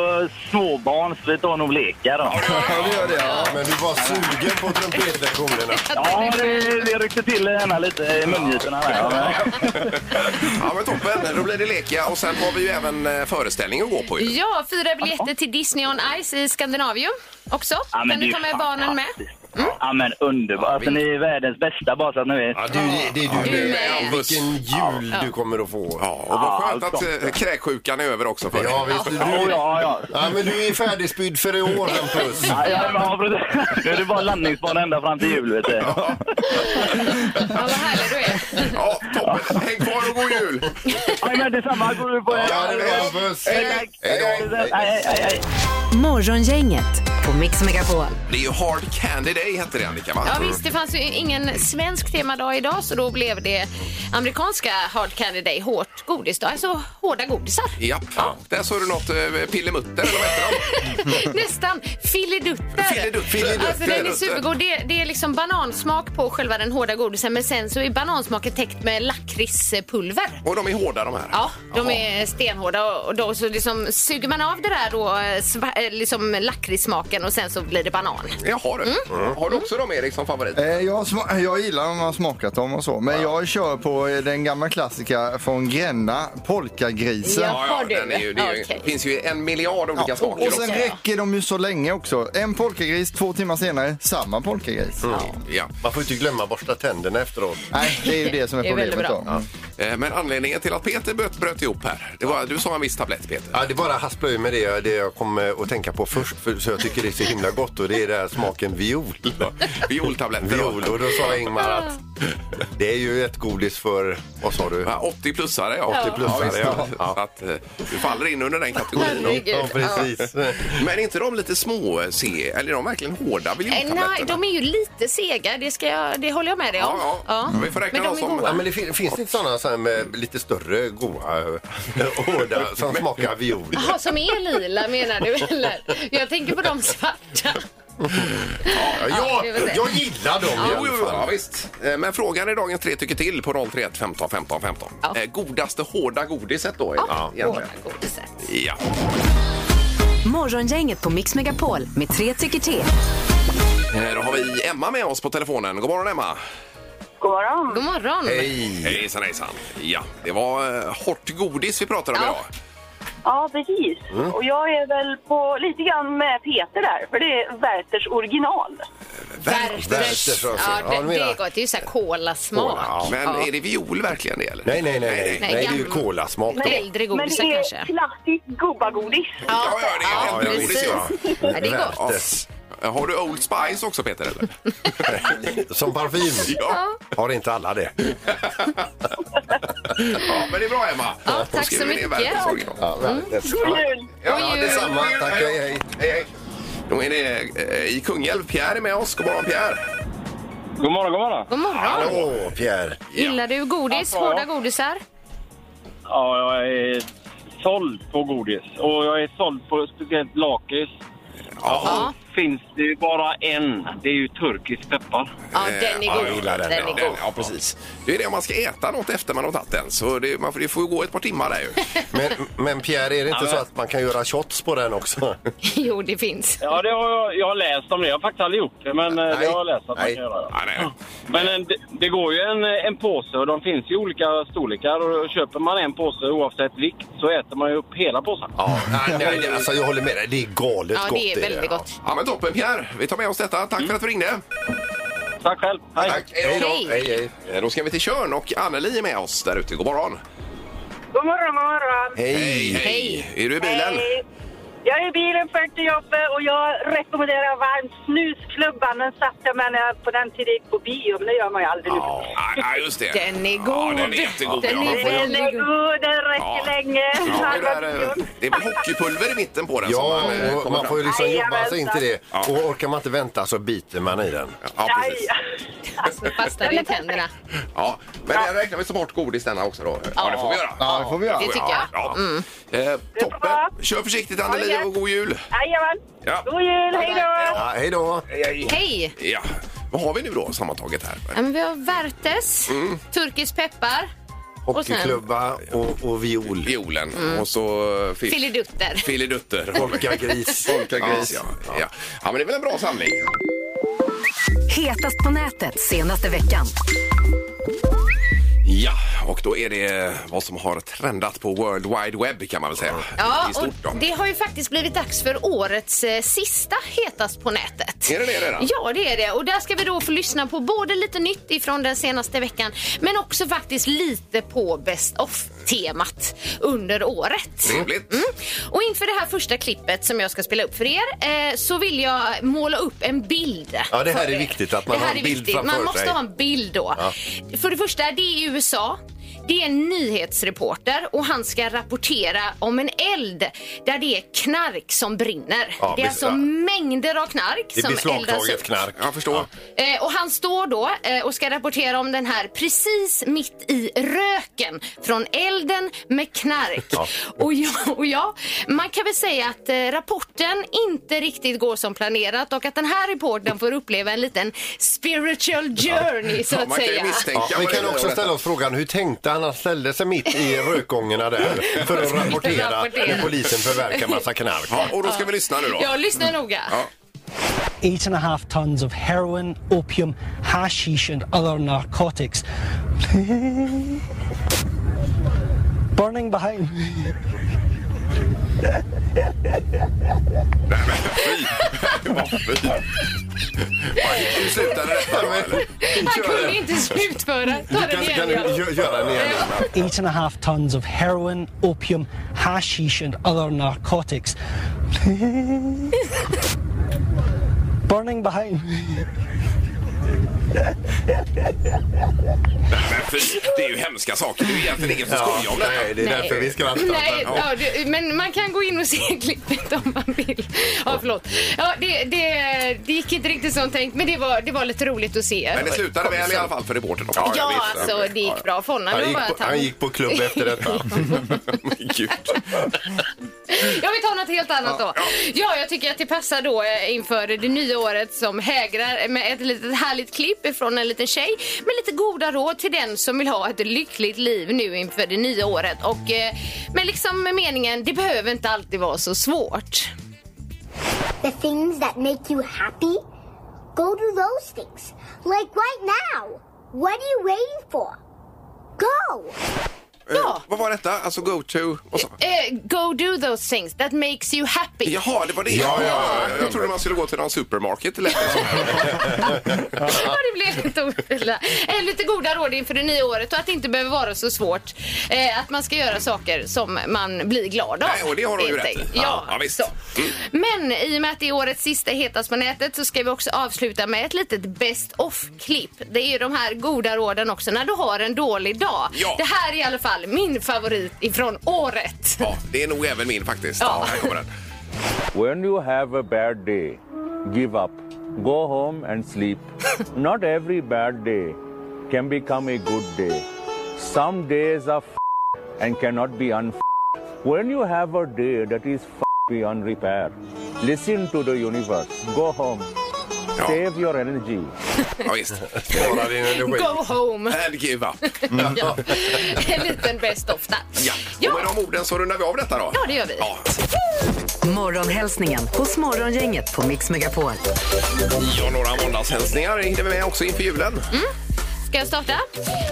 [SPEAKER 11] småbarn så vi tar nog leka då.
[SPEAKER 5] Ja, det gör det. Ja, men du var sugen på trumpetlektionerna.
[SPEAKER 11] Ja, det, det ryckte till henne lite i mungiporna där. Ja, men-
[SPEAKER 4] Ja men toppen, då blir det leka och sen har vi ju även eh, föreställning att gå på ju.
[SPEAKER 6] Ja, fyra biljetter till Disney on Ice i Skandinavium också.
[SPEAKER 11] Ja, men
[SPEAKER 6] kan
[SPEAKER 11] det
[SPEAKER 6] du
[SPEAKER 11] är
[SPEAKER 6] ta med barnen med?
[SPEAKER 11] Ja, men underbart. Alltså, ni är världens bästa bara så att ni vet.
[SPEAKER 5] Ja, du, det är du,
[SPEAKER 6] Du
[SPEAKER 5] med.
[SPEAKER 6] med.
[SPEAKER 5] Vilken jul du kommer att få.
[SPEAKER 4] Ja, och vad skönt att eh, kräksjukan är över också för dig.
[SPEAKER 5] Ja, visst. Du,
[SPEAKER 11] Ja, ja, ja.
[SPEAKER 5] Ja, men du är färdigspydd för i år, Hampus.
[SPEAKER 11] Ja, ja, ja, precis. Nu är det bara landningsbana ända fram till jul, vet du.
[SPEAKER 6] Ja, vad härlig du är.
[SPEAKER 4] Ja, toppen. Häng kvar och god jul!
[SPEAKER 11] Ja, men detsamma. Går du på er.
[SPEAKER 5] Ja, det är bra, Hampus.
[SPEAKER 11] Hej,
[SPEAKER 5] Hej då.
[SPEAKER 11] hej, hej, hej.
[SPEAKER 3] Morgongänget på Mix Megapol.
[SPEAKER 4] Det är ju Hard Candy Day hette det Annika va?
[SPEAKER 6] Ja visst, det fanns ju ingen svensk temadag idag så då blev det amerikanska Hard Candy Day, hårt godisdag, alltså hårda godisar.
[SPEAKER 4] Japp. Där såg du något eh, pillemutter eller vad heter de?
[SPEAKER 6] Nästan filidutter.
[SPEAKER 4] Filidutter. Filidutter.
[SPEAKER 6] Alltså den är supergod. Det, det är liksom banansmak på själva den hårda godisen men sen så är banansmaken täckt med lakritspulver.
[SPEAKER 4] Och de är hårda de här.
[SPEAKER 6] Ja, de är stenhårda och- och då så liksom suger man av det där då eh, sva- eh, liksom lakritssmaken och sen så blir det banan.
[SPEAKER 4] Jaha du. Har du också dem Erik som favorit?
[SPEAKER 8] Eh, Jag, sma- jag gillar om man har smakat dem och så, men jag kör på eh, den gamla klassiska från Gränna, polkagrisen.
[SPEAKER 4] ja, den är ju, det är ju, finns ju en miljard olika
[SPEAKER 8] Ja,
[SPEAKER 4] smaker
[SPEAKER 8] och, och sen
[SPEAKER 4] också.
[SPEAKER 8] räcker de ju så länge också. En polkagris, två timmar senare, samma polkagris.
[SPEAKER 4] Mm. Ja.
[SPEAKER 5] Man får inte glömma borsta tänderna efteråt.
[SPEAKER 8] Nej, det är ju det som är
[SPEAKER 6] Det är väldigt
[SPEAKER 8] problemet då.
[SPEAKER 6] bra.
[SPEAKER 4] Eh, Men anledningen till att Peter bröt, bröt ihop här, det var, du sa en viss tablett Peter.
[SPEAKER 5] Ja, det är bara haspla ur med det, jag- det jag kommer att tänka på först. För, så jag tycker det är så himla gott och det är den här smaken viol.
[SPEAKER 4] Violtabletter. då.
[SPEAKER 5] Viol. Och då sa Ingmar att det är ju ett godis för, vad sa du?
[SPEAKER 4] Ja, 80 plussare ja.
[SPEAKER 5] 80 plussare,
[SPEAKER 4] visst.
[SPEAKER 5] ja.
[SPEAKER 4] Så att, eh, du faller in under den kategorin.
[SPEAKER 6] Herregud.
[SPEAKER 5] Ja, precis.
[SPEAKER 4] Men är inte de lite små, eh, se, eller är de verkligen hårda
[SPEAKER 6] Eh,
[SPEAKER 4] biljontabletterna?
[SPEAKER 6] Nej, de är ju lite sega, det, ska jag, det håller jag med dig om.
[SPEAKER 4] Ja, ja. Vi får räkna
[SPEAKER 6] Men de
[SPEAKER 4] oss
[SPEAKER 6] är
[SPEAKER 4] om.
[SPEAKER 6] goda.
[SPEAKER 5] Ja, men det fin- finns det inte sådana så här med lite större, goa, eh, hårda som smakar viol?
[SPEAKER 6] Jaha, som är lila menar du eller? Jag tänker på de svarta.
[SPEAKER 5] Ja,
[SPEAKER 6] Ja,
[SPEAKER 5] jag,
[SPEAKER 6] vi får se.
[SPEAKER 5] jag gillar dem i
[SPEAKER 4] Jo, jo,
[SPEAKER 5] alla
[SPEAKER 4] jo, ja,
[SPEAKER 5] fall.
[SPEAKER 4] visst. Eh, Men frågan i dagens tre tycker till på 031 15 15 15. Eh, Godaste hårda godiset då?
[SPEAKER 6] Ja,
[SPEAKER 4] egentligen.
[SPEAKER 6] godiset.
[SPEAKER 4] ja.
[SPEAKER 3] Morgongänget på Mix Megapol med tre tycker till.
[SPEAKER 4] Eh, Då har vi Emma med oss på telefonen. God morgon Emma!
[SPEAKER 2] God morgon.
[SPEAKER 6] God morgon.
[SPEAKER 5] Hej!
[SPEAKER 4] Hejsan hejsan! Ja, det var eh, hårt godis vi pratade om
[SPEAKER 6] Ja.
[SPEAKER 4] idag.
[SPEAKER 2] Ja, precis.
[SPEAKER 4] Mm.
[SPEAKER 2] Och jag är väl på lite grann med Peter där, för det är Werthers original.
[SPEAKER 6] Värters.
[SPEAKER 5] Värters, alltså.
[SPEAKER 6] Ja,
[SPEAKER 5] Ja,
[SPEAKER 6] det,
[SPEAKER 5] du
[SPEAKER 6] det
[SPEAKER 5] menar-
[SPEAKER 6] är gott. Det är ju så här kolasmak.
[SPEAKER 5] Cola,
[SPEAKER 4] Men
[SPEAKER 6] Ja.
[SPEAKER 4] är det viol verkligen det eller?
[SPEAKER 5] Nej, nej, nej. nej.
[SPEAKER 6] Nej,
[SPEAKER 5] nej det är ju
[SPEAKER 6] gammal-
[SPEAKER 5] kolasmak då.
[SPEAKER 6] Nej. Äldre
[SPEAKER 2] Men
[SPEAKER 6] godisar
[SPEAKER 2] det är
[SPEAKER 6] kanske.
[SPEAKER 2] klassiskt gubbagodis.
[SPEAKER 4] Ja, ja, det är
[SPEAKER 6] Ja,
[SPEAKER 4] äldre godis
[SPEAKER 6] precis.
[SPEAKER 4] ja.
[SPEAKER 6] Ja, det är gott.
[SPEAKER 5] Värtes.
[SPEAKER 4] Eh, Har du Old Spice också Peter eller?
[SPEAKER 5] Som parfym.
[SPEAKER 4] Ja.
[SPEAKER 5] Har inte alla det?
[SPEAKER 6] Mm.
[SPEAKER 4] ja, men det är bra Emma.
[SPEAKER 6] Ja,
[SPEAKER 4] Då
[SPEAKER 6] tack
[SPEAKER 4] skriver
[SPEAKER 6] så
[SPEAKER 4] vi ner
[SPEAKER 6] mycket.
[SPEAKER 4] Värters original.
[SPEAKER 5] Ja, Värtes.
[SPEAKER 2] God jul!
[SPEAKER 4] Ja,
[SPEAKER 6] jul.
[SPEAKER 4] detsamma. Tack, hej, hej.
[SPEAKER 5] hej.
[SPEAKER 4] hej. Då är det eh, i Kungälv. Pierre är med oss. God morgon, Pierre.
[SPEAKER 11] God morgon, god morgon.
[SPEAKER 6] God morgon.
[SPEAKER 5] Åh, Pierre.
[SPEAKER 6] Gillar du godis?
[SPEAKER 11] Ja.
[SPEAKER 6] Hårda godisar?
[SPEAKER 11] Ja, jag är såld på godis och jag är såld på speciellt lakrits.
[SPEAKER 6] Ja.
[SPEAKER 11] Finns det ju bara en. Det är ju turkisk peppar.
[SPEAKER 6] Ja, den är
[SPEAKER 4] Eh, Ja,
[SPEAKER 6] god.
[SPEAKER 4] jag gillar
[SPEAKER 6] den, är
[SPEAKER 4] ja,
[SPEAKER 6] god.
[SPEAKER 4] ja, precis. Det är det om man ska äta något efter man har tagit den. Så det, man får, det får ju gå ett par timmar där ju.
[SPEAKER 5] Men, men Pierre, är det inte
[SPEAKER 4] Ja,
[SPEAKER 5] så
[SPEAKER 4] men-
[SPEAKER 5] att man kan göra shots på den också?
[SPEAKER 6] Jo, det finns.
[SPEAKER 11] Ja, det har jag, jag har läst om det. Jag har faktiskt aldrig gjort det, men eh, det har jag läst att man kan göra. Men eh, det, det går ju en, eh, en påse och de finns i olika storlekar. Och köper man en påse oavsett vikt så äter man ju upp hela påsen.
[SPEAKER 5] Ja, nej, nej, nej, alltså jag håller med dig. Det är galet
[SPEAKER 11] Ja, det
[SPEAKER 5] gott.
[SPEAKER 11] är väldigt gott.
[SPEAKER 4] Ja, men toppen Pierre. Vi tar med oss detta. Tack för att du ringde.
[SPEAKER 11] Tack själv. Hej.
[SPEAKER 4] Tack. Hej då.
[SPEAKER 2] Hej.
[SPEAKER 4] Hej, hej. Eh, Då ska vi till Körn och Anneli är med oss där ute. God morgon.
[SPEAKER 2] God morgon, god morgon.
[SPEAKER 4] Hej, hej. Är du i bilen?
[SPEAKER 2] Hej. Jag är i bilen för till jobbet och jag rekommenderar varmt snusklubban. Den satt jag med när jag på den tiden gick på bio, men det gör man ju aldrig nu.
[SPEAKER 4] Ja, just det.
[SPEAKER 6] Den är god.
[SPEAKER 4] Ja, den är jättegod.
[SPEAKER 6] Den
[SPEAKER 4] ja.
[SPEAKER 6] är
[SPEAKER 4] Man får ju-
[SPEAKER 2] Den är god, den räcker
[SPEAKER 4] Ja.
[SPEAKER 2] länge.
[SPEAKER 4] Ja, det,
[SPEAKER 2] Halva
[SPEAKER 4] där, eh, det är väl hockeypulver i mitten på den som
[SPEAKER 5] Ja,
[SPEAKER 4] man, eh,
[SPEAKER 5] och
[SPEAKER 4] kommer
[SPEAKER 5] man får ju
[SPEAKER 4] fram.
[SPEAKER 5] liksom jobba sig in
[SPEAKER 2] Jajamensan.
[SPEAKER 5] till det. Och orkar man inte vänta så biter man i den.
[SPEAKER 4] Ja, precis.
[SPEAKER 6] Alltså, fastnar i tänderna.
[SPEAKER 4] Ja, men det räknar vi som bort godis denna också då. Ja, det får vi göra.
[SPEAKER 8] Ja, det får vi göra.
[SPEAKER 6] Det tycker jag.
[SPEAKER 4] Ja. Eh, toppen. Kör försiktigt Anneli och god jul.
[SPEAKER 2] Jajamän.
[SPEAKER 4] Ja.
[SPEAKER 2] God jul, hej då!
[SPEAKER 4] Ja, hej då. Hej,
[SPEAKER 6] Hej!
[SPEAKER 4] Ja. Vad har vi nu då sammantaget här?
[SPEAKER 6] Ja, men vi har värtes,
[SPEAKER 4] Mm.
[SPEAKER 6] turkisk peppar och sen
[SPEAKER 5] Hockeyklubba och, och viol.
[SPEAKER 4] Violen
[SPEAKER 6] Mm.
[SPEAKER 4] och så eh, fiff.
[SPEAKER 6] filidutter.
[SPEAKER 4] Filidutter.
[SPEAKER 5] Polkagris.
[SPEAKER 4] Polkagris, ja. Ja. ja. men det är väl en bra samling?
[SPEAKER 3] Hetast på nätet senaste veckan.
[SPEAKER 4] Ja, och då är det vad som har trendat på World Wide Web kan man väl säga.
[SPEAKER 6] Ja,
[SPEAKER 4] I stort då.
[SPEAKER 6] och det har ju faktiskt blivit dags för årets eh, sista Hetast på nätet.
[SPEAKER 4] Är det det redan?
[SPEAKER 6] Ja, det är det. Och där ska vi då få lyssna på både lite nytt ifrån den senaste veckan men också faktiskt lite på Best of-temat under året.
[SPEAKER 4] Trevligt.
[SPEAKER 6] Mm. Och inför det här första klippet som jag ska spela upp för er eh, så vill jag måla upp en bild.
[SPEAKER 5] Ja, det här
[SPEAKER 6] för
[SPEAKER 5] är
[SPEAKER 6] er.
[SPEAKER 5] viktigt, att man
[SPEAKER 6] Det här
[SPEAKER 5] har en
[SPEAKER 6] är
[SPEAKER 5] bild
[SPEAKER 6] viktigt.
[SPEAKER 5] framför
[SPEAKER 6] Man måste
[SPEAKER 5] sig.
[SPEAKER 6] ha en bild då.
[SPEAKER 5] Ja.
[SPEAKER 6] För det första, det är i USA. Det är en nyhetsreporter och han ska rapportera om en eld där det är knark som brinner.
[SPEAKER 5] Ja,
[SPEAKER 6] det är
[SPEAKER 5] visst,
[SPEAKER 6] alltså
[SPEAKER 5] ja.
[SPEAKER 6] mängder av knark
[SPEAKER 5] Det är
[SPEAKER 6] som eldas
[SPEAKER 5] beslagtaget
[SPEAKER 6] upp.
[SPEAKER 5] knark.
[SPEAKER 4] Jag förstår.
[SPEAKER 6] Eh, Och han står då eh, och ska rapportera om den här precis mitt i röken från elden med knark. Och, ja, och ja, man kan väl säga att eh, rapporten inte riktigt går som planerat och att den här reporten får uppleva en liten spiritual journey så att säga.
[SPEAKER 5] Ja, vi kan också ställa oss frågan, hur tänkte han när han ställde sig mitt i rökgångarna där för att rapportera
[SPEAKER 6] Rapportera.
[SPEAKER 5] när polisen förverkar massa knark?
[SPEAKER 4] Ja, och då ska vi lyssna nu då.
[SPEAKER 6] Mm. Ja, lyssna noga.
[SPEAKER 13] eight and a half tons of heroin, opium, hashish, and other narcotics. Burning behind.
[SPEAKER 4] Hur slutade detta då? eller?
[SPEAKER 6] Han kunde inte slutföra. Ta den igen. ja.
[SPEAKER 13] Eight and a half tons of heroin, opium, hashish, and other narcotics. Burning behind.
[SPEAKER 4] Nej, men fy, det är ju hemska saker. Det är ju egentligen ingen som skojar om detta.
[SPEAKER 5] nej, det är
[SPEAKER 6] Nej.
[SPEAKER 5] därför vi skrattar.
[SPEAKER 6] Nej, ja, det, men man kan gå in och se klippet om man vill. Ja, förlåt. Ja, det, det, det gick inte riktigt som tänkt, men det var, det var lite roligt att se.
[SPEAKER 4] Men det slutade väl i alla fall för reportern. också.
[SPEAKER 6] Ja, alltså det gick bra för honom. Det var bara att
[SPEAKER 5] detta.
[SPEAKER 4] Men Gud.
[SPEAKER 6] Jag vill ta något helt annat då. Ja, jag tycker att det passar då eh, inför det nya året som hägrar med ett litet härligt klipp från en liten tjej med lite goda råd till den som vill ha ett lyckligt liv nu inför det nya året. Och eh, med liksom med meningen, det behöver inte alltid vara så svårt.
[SPEAKER 14] The things that make you happy? Go do those things. Like right now. What are you waiting for? Go!
[SPEAKER 4] Ja. Vad var detta? Alltså go to... Och så.
[SPEAKER 6] Eh, go do those things that makes you happy.
[SPEAKER 4] Jaha, det var det. Ja, ja, ja. Jag trodde man skulle gå till någon supermarket eller något sånt här.
[SPEAKER 6] Ja, det blev lite ofilla. Eh, Lite goda råd inför det nya året och att det inte behöver vara så svårt. Eh, att man ska göra saker som man blir glad av.
[SPEAKER 4] Nej, och det har hon ju
[SPEAKER 6] helt
[SPEAKER 4] rätt i.
[SPEAKER 6] enkelt. Ja.
[SPEAKER 4] ja visst. Mm.
[SPEAKER 6] Men i och med att det är årets sista Hetast på nätet så ska vi också avsluta med ett litet best of-klipp. Det är ju de här goda råden också när du har en dålig dag.
[SPEAKER 4] Ja.
[SPEAKER 6] Det här är i alla fall min favorit ifrån året.
[SPEAKER 4] Ja, det är nog även min faktiskt.
[SPEAKER 6] Ja.
[SPEAKER 4] Här kommer den.
[SPEAKER 15] When you have a bad day, give up. Go home and sleep. Not every bad day can become a good day. Some days are f- and cannot be unf. When you have a day that is f- beyond repair, listen to the universe. Go home. Save your energy.
[SPEAKER 4] Ja, visst. Spara din
[SPEAKER 6] Go home!
[SPEAKER 4] And give up.
[SPEAKER 6] Mm. Ja. En liten best of där.
[SPEAKER 4] Ja. Och med de orden så rundar vi av detta då.
[SPEAKER 6] Ja, det gör vi.
[SPEAKER 3] Morgonhälsningen hos Morgongänget på Mix Megapol.
[SPEAKER 4] Ja, några måndagshälsningar hinner vi med också inför julen.
[SPEAKER 6] Mm. Ska jag starta?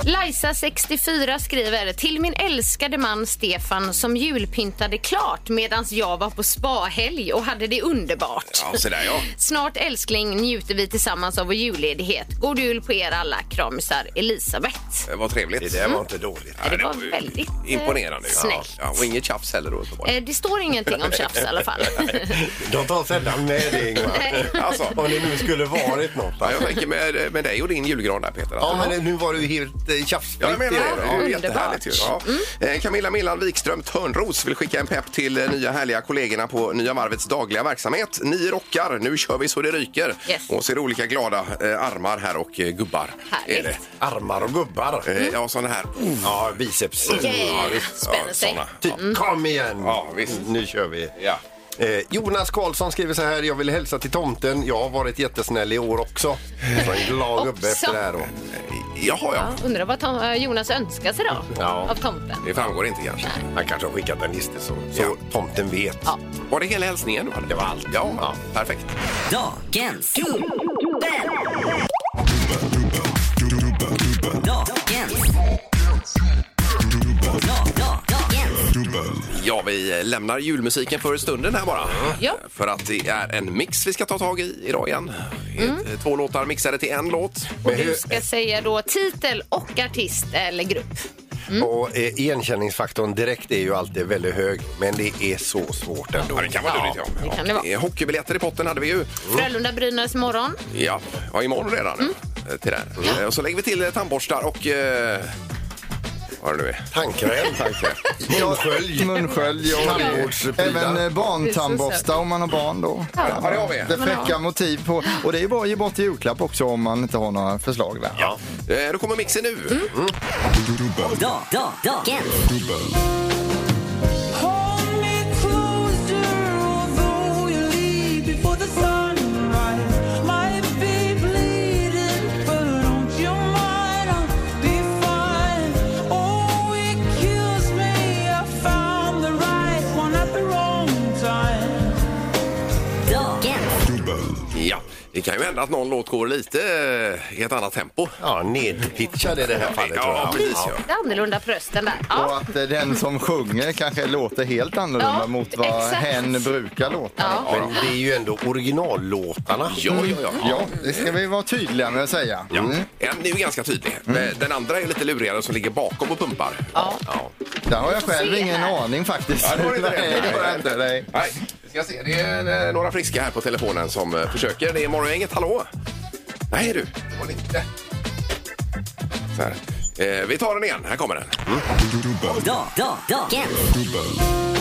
[SPEAKER 6] Lajsa, 64, skriver till min älskade man Stefan som julpyntade klart medan jag var på spahelg och hade det underbart.
[SPEAKER 4] Ja, så där ja.
[SPEAKER 6] Snart älskling njuter vi tillsammans av vår julledighet. God jul på er alla. Kramsar Elisabeth.
[SPEAKER 4] Det var trevligt. Det
[SPEAKER 5] där var inte dåligt.
[SPEAKER 6] det var väldigt, eh,
[SPEAKER 4] imponerande. ju.
[SPEAKER 6] snällt.
[SPEAKER 4] Ja, och inget tjafs heller då. uppenbarligen.
[SPEAKER 6] Eh, Det står ingenting om tjafs i alla fall.
[SPEAKER 5] De tar sällan med det,
[SPEAKER 6] Nej.
[SPEAKER 5] Ingmar. Alltså, om det nu skulle varit något.
[SPEAKER 4] Ja, jag tänker med, med dig och din julgran där Peter.
[SPEAKER 5] Ja, men nu var du helt eh, tjafsfritt.
[SPEAKER 4] Ja, jag menar
[SPEAKER 5] i
[SPEAKER 4] det.
[SPEAKER 5] det.
[SPEAKER 4] Det är ju jättehärligt ju. Ja. Eh, Camilla Millan Wikström Törnros vill skicka en pepp till eh, nya härliga kollegorna på Nya Varvets dagliga verksamhet. Ni rockar, nu kör vi så det ryker.
[SPEAKER 6] Yes.
[SPEAKER 4] Och så är det olika glada eh, armar här och eh, gubbar.
[SPEAKER 6] Härligt. Mm.
[SPEAKER 4] Armar och gubbar? Eh, ja, sådana här. Ja, biceps.
[SPEAKER 6] Yeah, spänner sig.
[SPEAKER 5] Typ, kom igen!
[SPEAKER 4] Mm.
[SPEAKER 5] Mm,
[SPEAKER 4] Ja, visst.
[SPEAKER 5] Nu kör vi.
[SPEAKER 4] Ja.
[SPEAKER 5] Eh, Jonas Karlsson skriver så här. Jag vill hälsa till tomten. Jag har varit jättesnäll i år också. Så en glad gubbe efter det här då.
[SPEAKER 4] Jaha, ja.
[SPEAKER 6] Undrar vad Tom, eh, Jonas önskar sig då
[SPEAKER 5] Ja.
[SPEAKER 6] av tomten.
[SPEAKER 4] Det framgår inte kanske.
[SPEAKER 5] Han kanske har skickat en lista så, så tomten vet.
[SPEAKER 4] Var det hela hälsningen? du hade?
[SPEAKER 5] Det var allt.
[SPEAKER 4] Ja, perfekt.
[SPEAKER 12] Dagens dubbel. Dagens.
[SPEAKER 4] Ja, vi lämnar julmusiken för stunden här bara.
[SPEAKER 6] Ja.
[SPEAKER 4] För att det är en mix vi ska ta tag i idag igen.
[SPEAKER 6] Mm.
[SPEAKER 4] Eh, Två låtar mixade till en låt.
[SPEAKER 6] Och du ska säga då titel och artist eller grupp.
[SPEAKER 5] Och eh, igenkänningsfaktorn direkt är ju alltid väldigt hög. Men det är så svårt ändå.
[SPEAKER 4] Ja, det kan vara lurigt. Ja.
[SPEAKER 6] Det kan det vara.
[SPEAKER 4] Eh, Hockeybiljetter i potten hade vi ju.
[SPEAKER 6] Frölunda-Brynäs imorgon.
[SPEAKER 4] Ja, ja imorgon redan.
[SPEAKER 6] Mm.
[SPEAKER 4] eh, Till där. Eh, Och så lägger vi till eh, tandborstar och... Eh, vad det nu är.
[SPEAKER 5] Tandkräm.
[SPEAKER 4] Tandkräm.
[SPEAKER 5] Munskölj.
[SPEAKER 8] Munskölj och
[SPEAKER 5] Tandvårdsprylar.
[SPEAKER 8] även eh, barntandborsta om man har barn då.
[SPEAKER 4] det har vi.
[SPEAKER 8] Det är fräcka motiv på. Och det är bara att ge bort i julklapp också om man inte har några förslag där.
[SPEAKER 4] Ja. Eh, Då kommer mixen nu.
[SPEAKER 6] Mm.
[SPEAKER 12] Da, da, dagens.
[SPEAKER 3] Oh,
[SPEAKER 4] Ja. Det kan ju hända att någon låt går lite eh, i ett annat tempo.
[SPEAKER 5] Ja, nedpitchad i det här fallet tror
[SPEAKER 4] Ja,
[SPEAKER 5] jag.
[SPEAKER 4] precis. Ja.
[SPEAKER 6] Det är annorlunda på rösten där.
[SPEAKER 8] Och
[SPEAKER 6] Ja.
[SPEAKER 8] att eh, den som sjunger kanske låter helt annorlunda
[SPEAKER 6] Ja,
[SPEAKER 8] mot vad
[SPEAKER 6] exakt.
[SPEAKER 8] hen brukar låta.
[SPEAKER 6] Ja.
[SPEAKER 5] Men det är ju ändå originallåtarna.
[SPEAKER 4] Ja, ja, ja.
[SPEAKER 8] Ja, det ska vi vara tydliga med att säga. Mm.
[SPEAKER 4] Ja. En är ju ganska tydlig.
[SPEAKER 5] Mm.
[SPEAKER 4] Eh, Den andra är lite lurigare som ligger bakom och pumpar.
[SPEAKER 6] Ja.
[SPEAKER 8] Där har jag själv
[SPEAKER 6] Se
[SPEAKER 8] ingen
[SPEAKER 6] här.
[SPEAKER 8] aning faktiskt.
[SPEAKER 4] Ja, det var inte det.
[SPEAKER 8] Nej, det har jag inte. Nej.
[SPEAKER 4] Nej, vi ska se. Det är eh, några friska här på telefonen som eh, försöker. Det är morgongänget. Hallå! Nej du, det var inte. Så här. Eh, vi tar den igen. Här kommer den.
[SPEAKER 12] Da, da, dagens.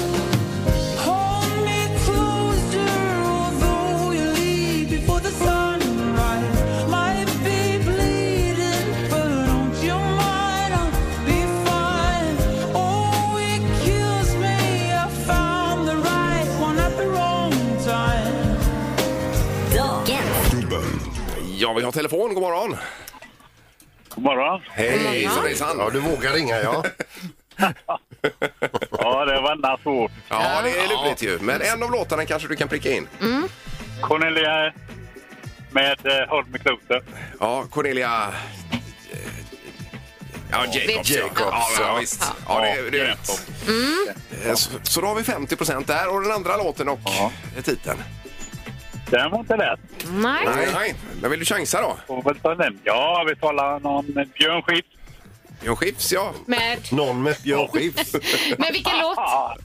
[SPEAKER 12] Dagens.
[SPEAKER 4] Ja, vi har telefon. God morgon!
[SPEAKER 11] God morgon.
[SPEAKER 5] Hej!
[SPEAKER 4] Hejsan, hejsan!
[SPEAKER 5] Ja, du vågar ringa ja.
[SPEAKER 11] Ja, det var nära svårt.
[SPEAKER 4] Ja, det är lurigt ju. Men en av låtarna kanske du kan pricka in.
[SPEAKER 11] Cornelia här med eh, Håll mig kloten.
[SPEAKER 4] Ja, Cornelia... eh, Ja, Jacobs. ja.
[SPEAKER 6] Jacobs,
[SPEAKER 4] Ja, ja,
[SPEAKER 6] ja.
[SPEAKER 4] visst. Ja, det, är- det är rätt. Eh, Så, så då har vi 50 där och den andra låten och titeln.
[SPEAKER 11] Den var inte lätt.
[SPEAKER 6] Nej.
[SPEAKER 4] Nej, nej. Men vill du chansa då?
[SPEAKER 11] Får väl ta den. Ja, vi talar någon Björn Skifs.
[SPEAKER 4] Björn Skifs, ja.
[SPEAKER 6] Med,
[SPEAKER 5] Någon med Björn Skifs.
[SPEAKER 6] med vilken låt?
[SPEAKER 11] Ah,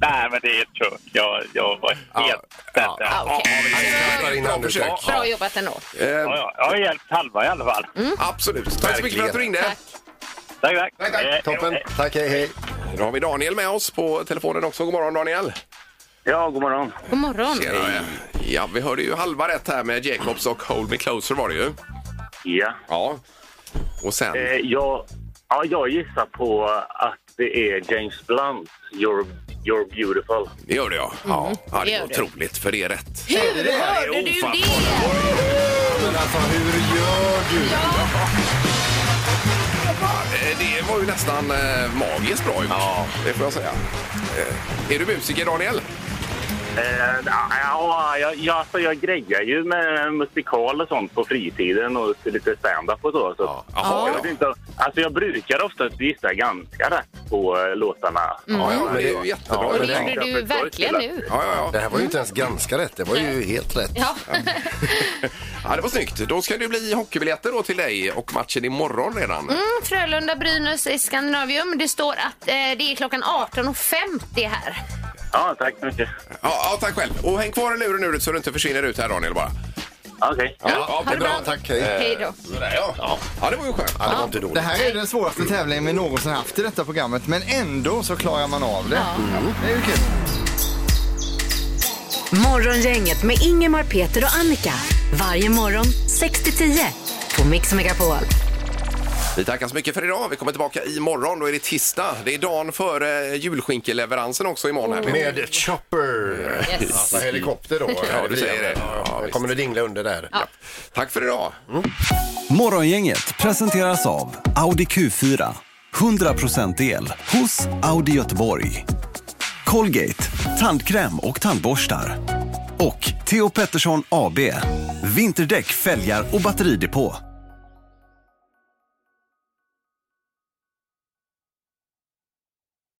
[SPEAKER 11] nej, men det är ett kök. Jag, jag var helt ja, ja,
[SPEAKER 6] Ah, okej.
[SPEAKER 5] Kastar in
[SPEAKER 4] Bra försök.
[SPEAKER 5] handduken.
[SPEAKER 6] Bra jobbat ändå.
[SPEAKER 4] Eh,
[SPEAKER 11] ja, Jag har hjälpt halva i alla fall.
[SPEAKER 6] Mm.
[SPEAKER 4] Absolut. Tack så mycket för att du ringde.
[SPEAKER 11] Tack, tack.
[SPEAKER 4] Tack, tack.
[SPEAKER 11] Eh,
[SPEAKER 5] Toppen.
[SPEAKER 11] eh,
[SPEAKER 5] Tack, hej hej.
[SPEAKER 4] Då har vi Daniel med oss på telefonen också. God morgon Daniel.
[SPEAKER 11] Ja, god morgon.
[SPEAKER 6] God morgon.
[SPEAKER 4] Tjenare. Ja, vi hörde ju halva rätt här med Jacobs och Hold Me Closer var det ju.
[SPEAKER 11] Ja.
[SPEAKER 4] Ja. Och sen...
[SPEAKER 11] Eh, jag, ja, jag gissar på att
[SPEAKER 16] det är James Blunt, You're, you're beautiful.
[SPEAKER 4] Det gör det, ja.
[SPEAKER 6] Mhm.
[SPEAKER 4] Ja, ja det
[SPEAKER 16] Det
[SPEAKER 4] är
[SPEAKER 16] gör det.
[SPEAKER 4] otroligt, för det är rätt.
[SPEAKER 6] Hur hörde du det?
[SPEAKER 5] Men alltså, hur gör du?
[SPEAKER 4] Eh, Det var ju nästan eh, magiskt bra gjort. Ja. Det får jag säga. Eh, Är du musiker, Daniel?
[SPEAKER 6] Mm.
[SPEAKER 16] Eh, ja, jag, jag, alltså, jag grejar ju med musikal och sånt på fritiden och lite stand-up och så. så. jag, vet inte, alltså, jag brukar oftast gissa ganska rätt på eh, låtarna.
[SPEAKER 6] Mm. Ja, ja,
[SPEAKER 5] men det är ju jättebra.
[SPEAKER 6] Och det gjorde du verkligen nu.
[SPEAKER 5] Det här var ju inte ens ganska rätt, det var ju helt rätt.
[SPEAKER 6] Ja.
[SPEAKER 4] Ja, det var snyggt. Då ska det bli hockeybiljetter då till dig och matchen imorgon redan.
[SPEAKER 6] Mm, Frölunda-Brynäs i Skandinavium. Det står att eh, det är klockan 18.50 här.
[SPEAKER 16] Ja, tack så mycket.
[SPEAKER 4] Ja, ja, tack själv. Och häng kvar i luren nu så du inte försvinner ut här, Daniel, bara.
[SPEAKER 16] Okej.
[SPEAKER 4] Ja, ja,
[SPEAKER 6] ha det bra.
[SPEAKER 4] Tack,
[SPEAKER 6] Hej då.
[SPEAKER 4] Sådär, ja. Ja. det var ju skönt. Ja, det var inte dåligt.
[SPEAKER 8] Det här är den svåraste tävlingen vi någonsin haft i detta programmet, men ändå så klarar man av det. Det är ju kul.
[SPEAKER 3] Morgongänget med Ingemar, Peter och Annika. Varje morgon 6 till 10 på Mix Megapol.
[SPEAKER 4] Vi tackar så mycket för idag. Vi kommer tillbaka imorgon. Då är det tisdag. Det är dagen före julskinkeleveransen också imorgon. Här.
[SPEAKER 5] Med chopper.
[SPEAKER 4] Yes.
[SPEAKER 5] Alltså helikopter då.
[SPEAKER 4] Ja, du säger det. Ja,
[SPEAKER 5] kommer det dingla under där.
[SPEAKER 4] Tack för idag. Mm.
[SPEAKER 17] Morgongänget presenteras av Audi Q4. 100% el hos Audi Göteborg. Colgate, tandkräm och tandborstar. Och Theo Pettersson AB, vinterdäck, fälgar och batteridepå.